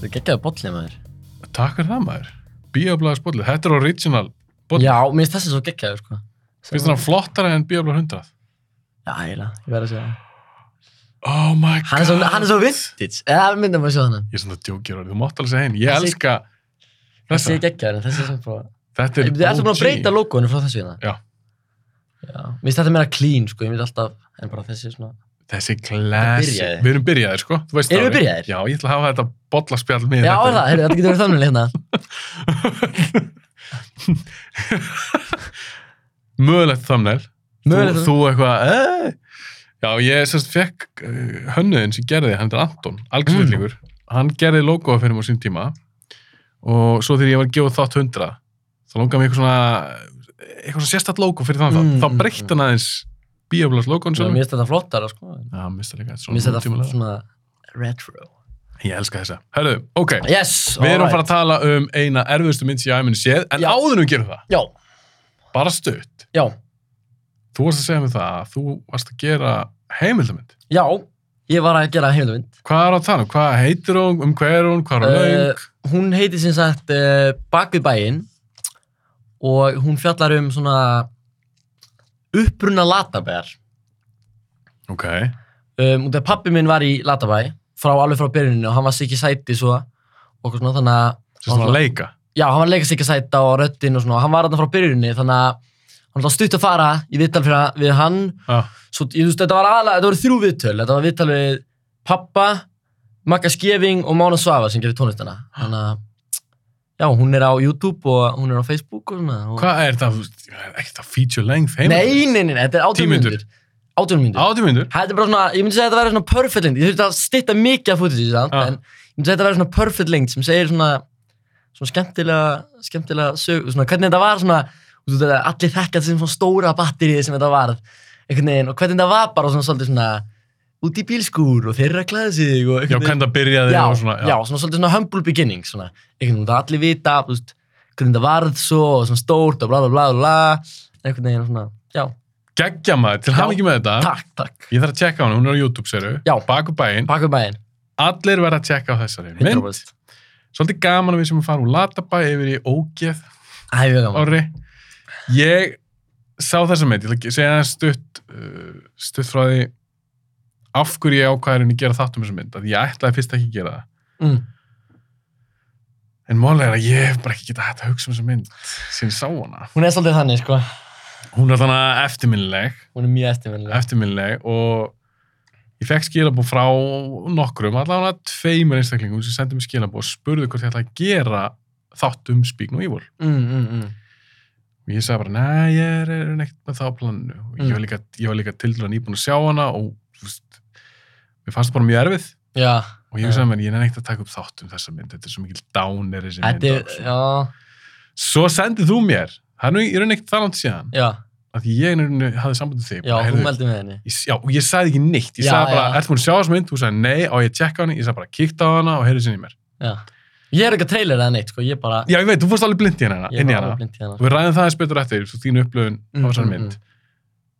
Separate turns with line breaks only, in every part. Þú geggjaði bollið maður.
Takk er það maður. Bíoblaðs bollið. Þetta er original. Boll-
Já, mér finnst þessi svo geggjaður, sko.
Finnst þér hann flottara en Bíoblaðs 100?
Já, eiginlega, ég verð að segja það.
Oh my god.
Hann er svo, hann er svo vintage. Eða, myndum að sjá hann.
Ég er svona djókjur orðið. Þú mátt alveg segja hinn. Ég
Þessi-
elska
Þessi
þessa.
er geggjaður, en þessi er svo bara...
Þetta er
Þið ertu búin að breyta logoinu frá þessu hérna?
Já.
Já. Mér finnst þetta meira clean, sko, ég myndi alltaf, en bara þessi svona...
Þessi klassi.
Þetta byrjaði.
Við erum byrjaðir, sko. Þú veist
Erum
það,
við
Ari.
byrjaðir?
Já, ég ætla að hafa þetta bollaspjall með
Já, er það, heyrðu, þetta getur verið þannig hérna.
Mögulegt thumbnail.
Mögulegt
Þú, þú eitthvað, eeeh. Já, ég sérst fekk uh, hönnuðin sem gerði, hann er Anton, algjörsvillingur.
Mm.
Hann gerði logoða fyrir mig á sín tíma og svo þegar ég var að gefa þátt 100, þá langaði mig eitthvað svona, eitthvað svona sérstætt logo fyrir þann
Mm,
þátt.
mm,
Þá breytti hann aðeins bíoblast logoðin
Mér
sem.
finnst þetta flottara, sko. Mér
Já, mista líka, þetta er
finnst
svona
þetta
tímulega.
svona retro.
Ég elska þessa. Hörru, ok,
Yes,
við erum að fara að tala um eina erfiðustu mynd sem ég æminn séð, en
Já.
áður en við gerum það,
Já,
bara stutt.
já,
Þú varst að segja mér það að þú varst að gera heimildamynd.
já, ég var að gera heimildumynd.
Hvað er á þannig? Hvað heitir hún? Um hvað er hún? Hvað er hún?
Eh,
löng?
Hún heiti sem sagt uh, Bakvið bæinn og hún fjallar um svona uppruna latabæjar.
Ok,
um, og þegar pappi minn var í Latabæ frá alveg frá byrjuninu og hann var sikið sæti svo og eitthvað svona þannig að
sem svona að leika.
já, hann var leika sikið sæta og röddinn og svona og hann var þarna frá byrjuninu þannig að hann var stutt að fara í viðtal fyrir, við hann
Já,
svo, ég, þú veist, þetta var aðlega, þetta voru þrjú viðtöl þetta var viðtal við pappa Magga Skeving og Mána Svava sem gerir tónlistana þannig að já, hún er á YouTube og hún er á Facebook og svona og...
Hvað er það? Það er Ekkert að feature length heim?
nei, nei, nei, nei, þetta er
Tíu
18
mínútur.
mínútur 18 mínútur
Átjumvindur?
Þetta er bara svona, ég myndi segja að þetta verður svona perfect lengd, ég þurfti að stitta mikið af footage í það,
Ah.
en ég myndi segja að þetta verður svona perfect lengd sem segir svona, svona skemmtilega, skemmtilega sög, svona hvernig þetta var svona, og þú veit að allir þekkja þessum svona stóra batterið sem þetta varð, einhvern veginn, og hvernig þetta var bara svona svolítið svona út í bílskúr og þeirra að klæða sig og
Já,
einhvern
hvernig það byrjaði
já,
og svona.
já, svona svolítið svona humble beginnings, svona, einhvern veginn, það allir vita, þú veist, hvernig þetta varð svo, og svona stórt og bla bla bla bla, bla, einhvern veginn svona, já,
Geggja maður, til
Já.
hann með þetta.
takk, takk,
Ég þarf að tjekka hann, hún er á YouTube, seru.
Já.
Baku bæinn.
pakkum bæinn,
Allir verða að tjekka á þessari. Mynd,
100%.
svolítið gaman að við sem að fara úr Latabæ yfir í Ógeð
Það er mjög gaman.
ári. Ég sá þessa mynd, ég ætla að segja það stutt, uh, stutt frá því af hverju ég ákvæðurinn að gera þátt um þessa mynd. Að ég ætlaði fyrst ekki að gera það.
Mm.
En málega er að ég hef bara ekki getað hægt að hugsa um þessa mynd síðan ég sá hana.
Hún er svolítið þannig, sko.
Hún er þannig eftirminnileg,
Hún er mjög eftirminnileg.
eftirminnileg og ég fekk skilabóð frá nokkrum, allavega tveimur einstaklingum sem sendið mér skilabóð og spurðu hvort ég ætlaði að gera þátt um Speak No Evil.
Mm, mm, mm.
Og ég sagði bara, nei, ég er, er neitt með það á planinu. Og
Mm.
Ég var líka, ég var líka tildur að nýbúin að sjá hana og þú veist, mér fannst bara mjög erfið
Já.
og
Mm.
ég sagði mér, ég er neitt að taka upp þátt um þessa mynd, þetta er svo mikil dánir þessi mynd.
Þetta er,
og svo-
já,
Svo sendið þú mér, það er nú, ég er neitt það langt síðan,
já,
að ég er neitt hafði sambandið þig.
já, hún
bara, heyrðu,
meldi með henni.
ég- Já, og ég sagði ekki neitt, ég
Já,
sagði bara,
já.
ert múin að sjá þessu mynd, þú sagði nei, og ég tjekka hana, ég sagði bara, kíkt á hana og heyrðu sinni í mér.
Já. Ég er ekki að trailer eða neitt, sko, ég bara,
Já, ég veit, þú fórst alveg blind í hana,
ég
inn í
bara
hana.
alveg blind í hana.
Og við ræðum það eins betur eftir, svo þínu upplöfun á
Mm,
þessari
mm,
mynd.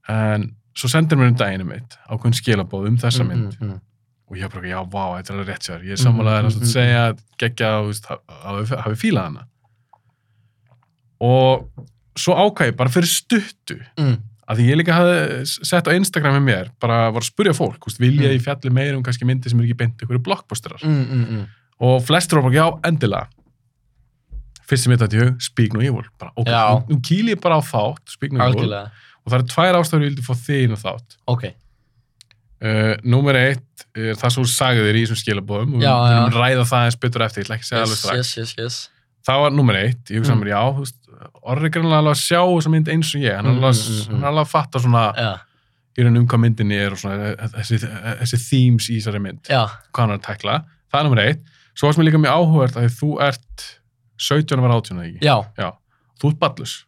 En svo sendir mér um daginu mitt, ákveðin skilabóð um þessa mynd,
Mm, mm,
og ég bara, já, vá, þetta er alveg rétt sér, ég er
Mm,
sammálaðið
mm,
að
mm,
segja, gegja, þú veist, ha- hafi hafi fílað hana. Og svo ákvæði, bara fyrir stuttu,
mm, mm.
að því ég líka hafði sett á Instagram með mér, bara var að spurja fólk, þú veist, vilja ég fjalli meira um kannski myndi sem er ekki beint ykkur blockbusterar.
Mm, mm, mm.
Og flestur var bara, já, endilega. Fyrst sem ég þetta í hug, Speak No Evil. Bara, ok,
Já.
nú- nú kýl ég bara á þátt, Speak No Evil.
Algjörlega.
Og það eru tvær ástæður ég vildi fá þig inn á þátt.
Ok.
Uh, númer eitt er það sem þú sagði þér í þessum skilabóðum og
Já,
við
já.
munum ræða það eins betur eftir, ég ætla ekki að segja alveg
Yes,
strax.
yes, yes, yes.
Það var númer eitt, ég hugsa
Mm.
mér, já, þú veist, orri grannlega alveg að sjá þessa mynd eins og ég, hann er
Mm,
alveg,
mm, mm,
hann er alveg að fatta svona,
Já,
í raun um hvað myndinni er og svona e, þessi, þessi themes í þessari mynd,
já,
hvað hann er að tekla það er nummer eitt, svo varst mér líka mjög áhugavert að þú ert 17 var 18 eða ekki,
já,
þú ert ballus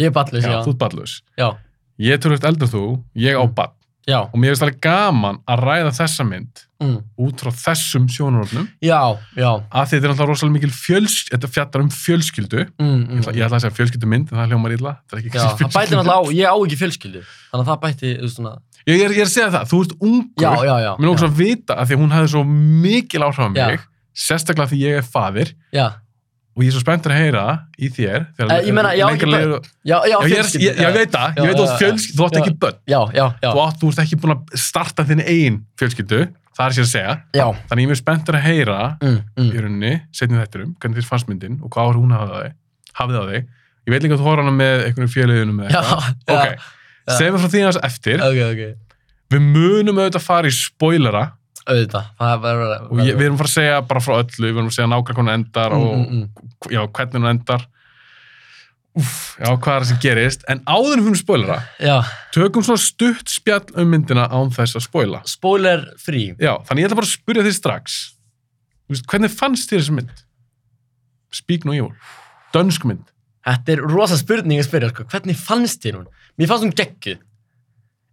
ég er ballus, já,
þú ert ballus,
já,
ég er tölvöld eldar þú ég á
Mm.
ball
já,
og mér finnst alveg gaman að ræða þessa mynd
mm.
út frá þessum sjónurofnum
já, já,
að þetta er alltaf rosalega mikil fjöls þetta fjallar um fjölskyldu
mm,
Ég ætla,
mm.
ég ætla að segja fjölskyldumynd, en það hljómar illa. Það er ekki
já, það bæti náttúrulega á, ég á ekki fjölskyldu, þannig að það bæti, þú veist svona,
Ég, ég, er, ég er að segja það, þú ert ungur,
já, já, já,
Mér
já,
lóks að vita að því að hún hafði svo mikil áhrif á mig
Já.
sérstaklega því ég er faðir
já,
og ég er svo spenntur að heyra í þér
Eh, ég meina, já, ég
lengra
bara-
leiðir og-
já, já,
Já, ég, er-
fjölskyldu,
ég, ég veit það,
Já,
ég veit
já,
að þú ert
já.
fjölskyld, þú átt
Já.
ekki börn
já, já, já,
þú, átt, þú ert ekki búin að starta þinn eigin fjölskyldu, það er sér að segja
já,
þannig ég er mjög spenntur að heyra
mm,
í
mm,
rauninni, setjum þetta um, hvernig þér fannst myndin og hvað áhrif hún hafði á þig, hafði á þig ég veit líka að þú horf hana með einhvern fjöliðunum
já, já,
ok,
já.
segðum við frá því hans eftir
ok, ok,
við munum auðvitað fara í spoilera
auðvitað, það verður,
og ég, við erum að fara að segja bara frá öllu, við erum að segja nákvæmlega hvernig hún endar
Mm,
og já, hvernig hún endar Úf, já, hvað er það sem gerist en áður en við finnum spoilera,
já,
tökum svona stutt spjall um myndina án þess að spoila
spoiler frí,
já, þannig ég ætla bara að spyrja því strax Þú veist, hvernig fannst þér þessi mynd? Speak no evil dönsk mynd,
Þetta er rosa spurning að spyrja, sko. hvernig fannst þér hún? Mér fannst hún geggjuð.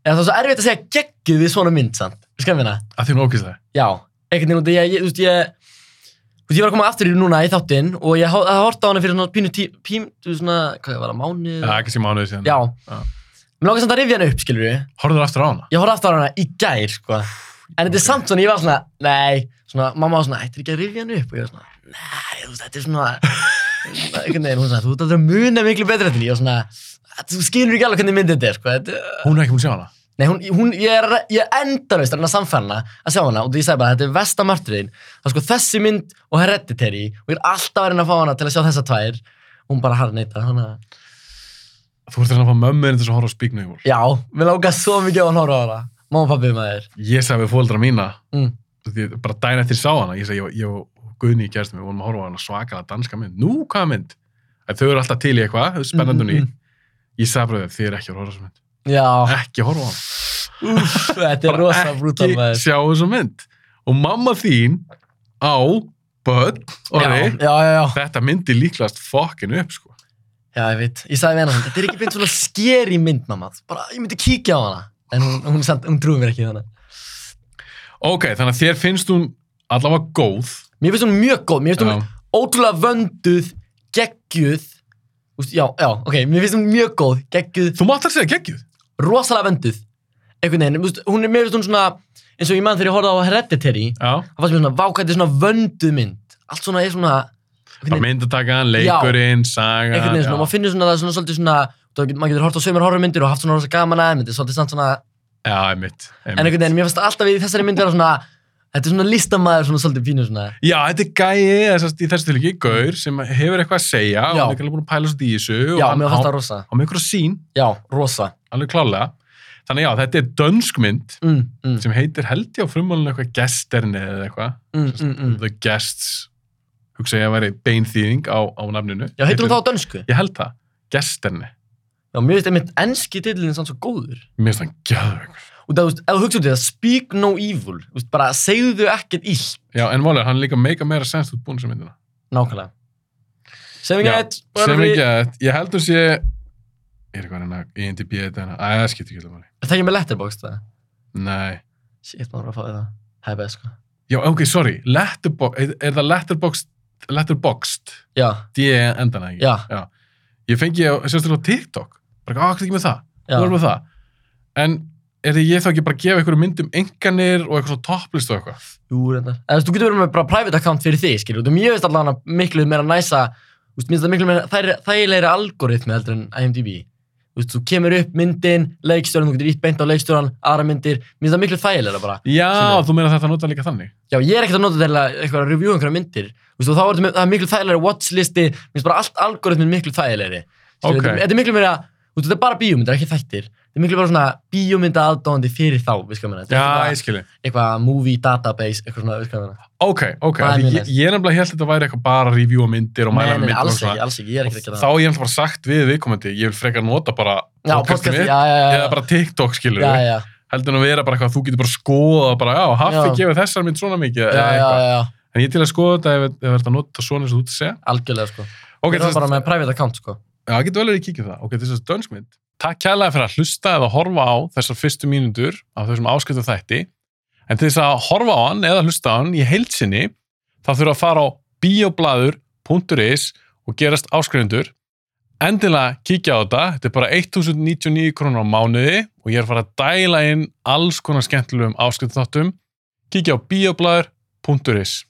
Eða það var svo erfitt að segja geggjuð við svona mynd, samt. Skal ég minna?
að því hún ókist það
Já. Einhvern veginn, út í- ég, ég, þú veist, ég, þú veist, ég var að koma aftur í núna í þáttinn og ég hafði hort á hana fyrir svona pínu tí, pím, þú veist svona, hvað var það, mánuð?
já, ekki sem mánuði síðan,
Mm. Já.
Já.
Mér lókast samt að rifja hana upp, skilur við.
horfður aftur á hana
Ég horfði aftur á hana í gær, sko. En þetta er
Ok.
samt svona, ég var svona, nei, svona, mamma var svona, ættir ekki að rifja hann upp? Og ég var svona, nei, þú veist, þetta er svona, svona, einhvern veginn, hún svona, þú ert aldrei að muna miklu betra þetta. en ég." Ég var svona, þú skilur ekki alveg hvernig myndið þetta er, sko. Þetta,
hún er ekki múin að sjá hana
nei, hún, hún, ég er, ég er endalaust að reyna að sannfæra hana að sjá hana og því ég sagði bara, þetta er versta martriðin. Það er sko þessi mynd og hereditary og ég er alltaf að reyna að fá hana til að sjá þessa tvær. Hún bara harði neyta, þannig að,
þú ert að reyna að fá mömmuðin þess að horfa á Speak no evil
já, mér láka svo mikið á að horfa á hana. Mamma og pabbi maður.
ég sagði við fóldra mína
Mm.
því, bara dæn eftir ég sá hana ég sagði, ég, ég og Guðni í gerðstum við vorum að horfa á hana svakalega danska mynd, nú hvaða mynd en þau eru alltaf til í eitthvað, þau eru spennandi og ný
Mm, mm,
ég sagði bara þau, þið er ekki að horfa á þessu mynd
Já,
ekki að horfa á hana,
úf, þetta er Ah. rosa brútal
ekki
maður.
sjá þessu mynd og mamma þín á börn, orði
Já, já, já, já.
þetta myndi líklast fokkin upp sko.
Já, ég veit. Ég sagði við hana, þetta er ekki beint svona skeri mynd, mamma. Bara, ég myndi kíkja á hana. En hún, hún, samt, hún trúið mér ekki í hana.
ok, þannig að þér finnst hún allavega góð
Mér finnst hún mjög góð. Mér finnst hún
Já.
ótrúlega vönduð, geggjuð. Úst, já, já, ok. Mér finnst hún mjög góð, geggjuð,
þú mátt að segja geggjuð
rosalega vönduð. Einhvern veginn. Úst, hún er, mér finnst hún svona, eins og ég mann þegar ég horfði á Hereditary,
Já.
það fannst mér svona, vá, hvað þetta er svona vönduð mynd. Allt svona er svona, einhvern
það
veginn,
myndatakan, leikurinn, sagan
einhvern veginn svona,
já.
maður finnur svona, það er svona, svolítið svona, þú veist, maður getur hort á sömur horrormyndir og haft svona rosa gaman aðeins, þetta er svolítið samt svona,
Já, einmitt,
En
einmitt.
einhvern veginn, mér fannst alltaf í þessari mynd vera svona, þetta er svona listamaður svona svolítið pínu svona.
Já, þetta er gæi, þessast, í þessu tilíki, gaur sem hefur eitthvað að segja og
Já.
hann er ekki alveg búin að pæla svo í þessu og
Já,
hann
mér fannst það
á,
rosa.
á með einhverja sín,
Já, rosa.
alveg klálega. Þannig já, þetta er dönskmynd
Mm, mm,
sem heitir held ég á frumálinu eitthvað gesterne eða eitthvað,
mm, mm, mm.
The Guests, hugsa ég að veri beinþýðing á, á nafninu.
Já, heitir hún þá á dönsku?
Ég held það, gesterne.
Já, mér finnst einmitt enski titlinni sann svo góður.
Mér finnst það gæðvöggur.
Og það, þú veist, ef þú hugsa út í það, speak no evil, þú veist, bara segðu ekkert illt.
Já, en málega, hann er líka meika meira sens út búin sem myndina.
Nákvæmlega. Saving
Já,
it.
Sem ekki að, ég held þú sé, er eitthvað hérna, INDB þetta hérna, að það skiptir ekki alveg máli.
Það er ekki með letterbox það.
Nei.
Shit, maður var að fá það. Það er best, sko.
Já, ok, sorry, letterbox, er, er það letterboxed, letterboxed,
Já,
D endana ekki?
já,
Ég fengi á, sérstaklega á TikTok, bara, hvað ekki með það,
já.
þú erum með það. En er það ég þá ekki bara að gefa einhverjum myndum enganir og eitthvað svona topplist og eitthvað?
Jú, reyndar. hérna. Eða, þú veist, þú getur verið með bara private account fyrir þig, skilur. Þú mér veist allavega miklu meira næsa, þú veist, minnst það miklu meira þær- þægilegri algoritmi heldur en IMDb. Þú veist, þú kemur upp myndin, leikstjóran, þú getur ítt beint á leikstjóran, aðra myndir, minnst það miklu þægilegra bara.
Já,
Skilur.
þú meina þetta nota líka þannig?
Já, ég er ekkert að nota til að eitthvað að review einhverja myndir, þú veist, og þá er þetta með- það er miklu þægilegri watchlisti, minnst bara allt algoritmin miklu þægilegri. Skilur,
Ok.
þetta- Þetta er miklu meira, þú veist, þetta er bara bíómyndir, ekki þættir. Þetta er miklu bara svona bíómynda aðdóðandi fyrir þá, við skoðum
Já,
hérna.
ég skilji.
Eitthvað movie database, eitthvað svona, við skoðum hérna.
Ok, ok,
Það er
af því
mjög
ég, ég er nefnilega held að þetta væri eitthvað bara að reviewa myndir og mæla
Nei,
með
nei,
myndir
alls
og
ekki,
svona.
alls ekki, ég er ekkert að gera
Þá er ég alltaf bara sagt við viðkomandi, ég vil frekar nota bara
Já,
podcastið
podcast,
mitt
já, já, já.
eða bara TikTok, skilur
Já, já,
heldur en að vera bara eitthvað að þú getur bara að skoða bara, já, haffi
Já.
gefið þessar mynd svona mikið
já,
eða
já, já,
eitthvað.
já,
en ég er til að skoða þetta ef ef það er að nota svona eins og þú ert að segja
algjörlega, sko.
ok,
Okay, það
þess
er bara
að,
með private account, sko.
já, það getur vel verið að kíkja á það ok, þess að dönskmynd, takk kærlega fyrir að hlusta eða horfa á þessar fyrstu mínundur af þessum áskiptu þætti en til þess að horfa á hann eða hlusta á hann í heilsinni, þá þurfa að fara á bioblaður.is og gerast áskrifundur endilega kíkja á þetta, þetta er bara 1099 krónur á mánuði og ég er að fara að dæla inn alls konar skemmtilegum áskriftþáttum kíkja á bioblæður.is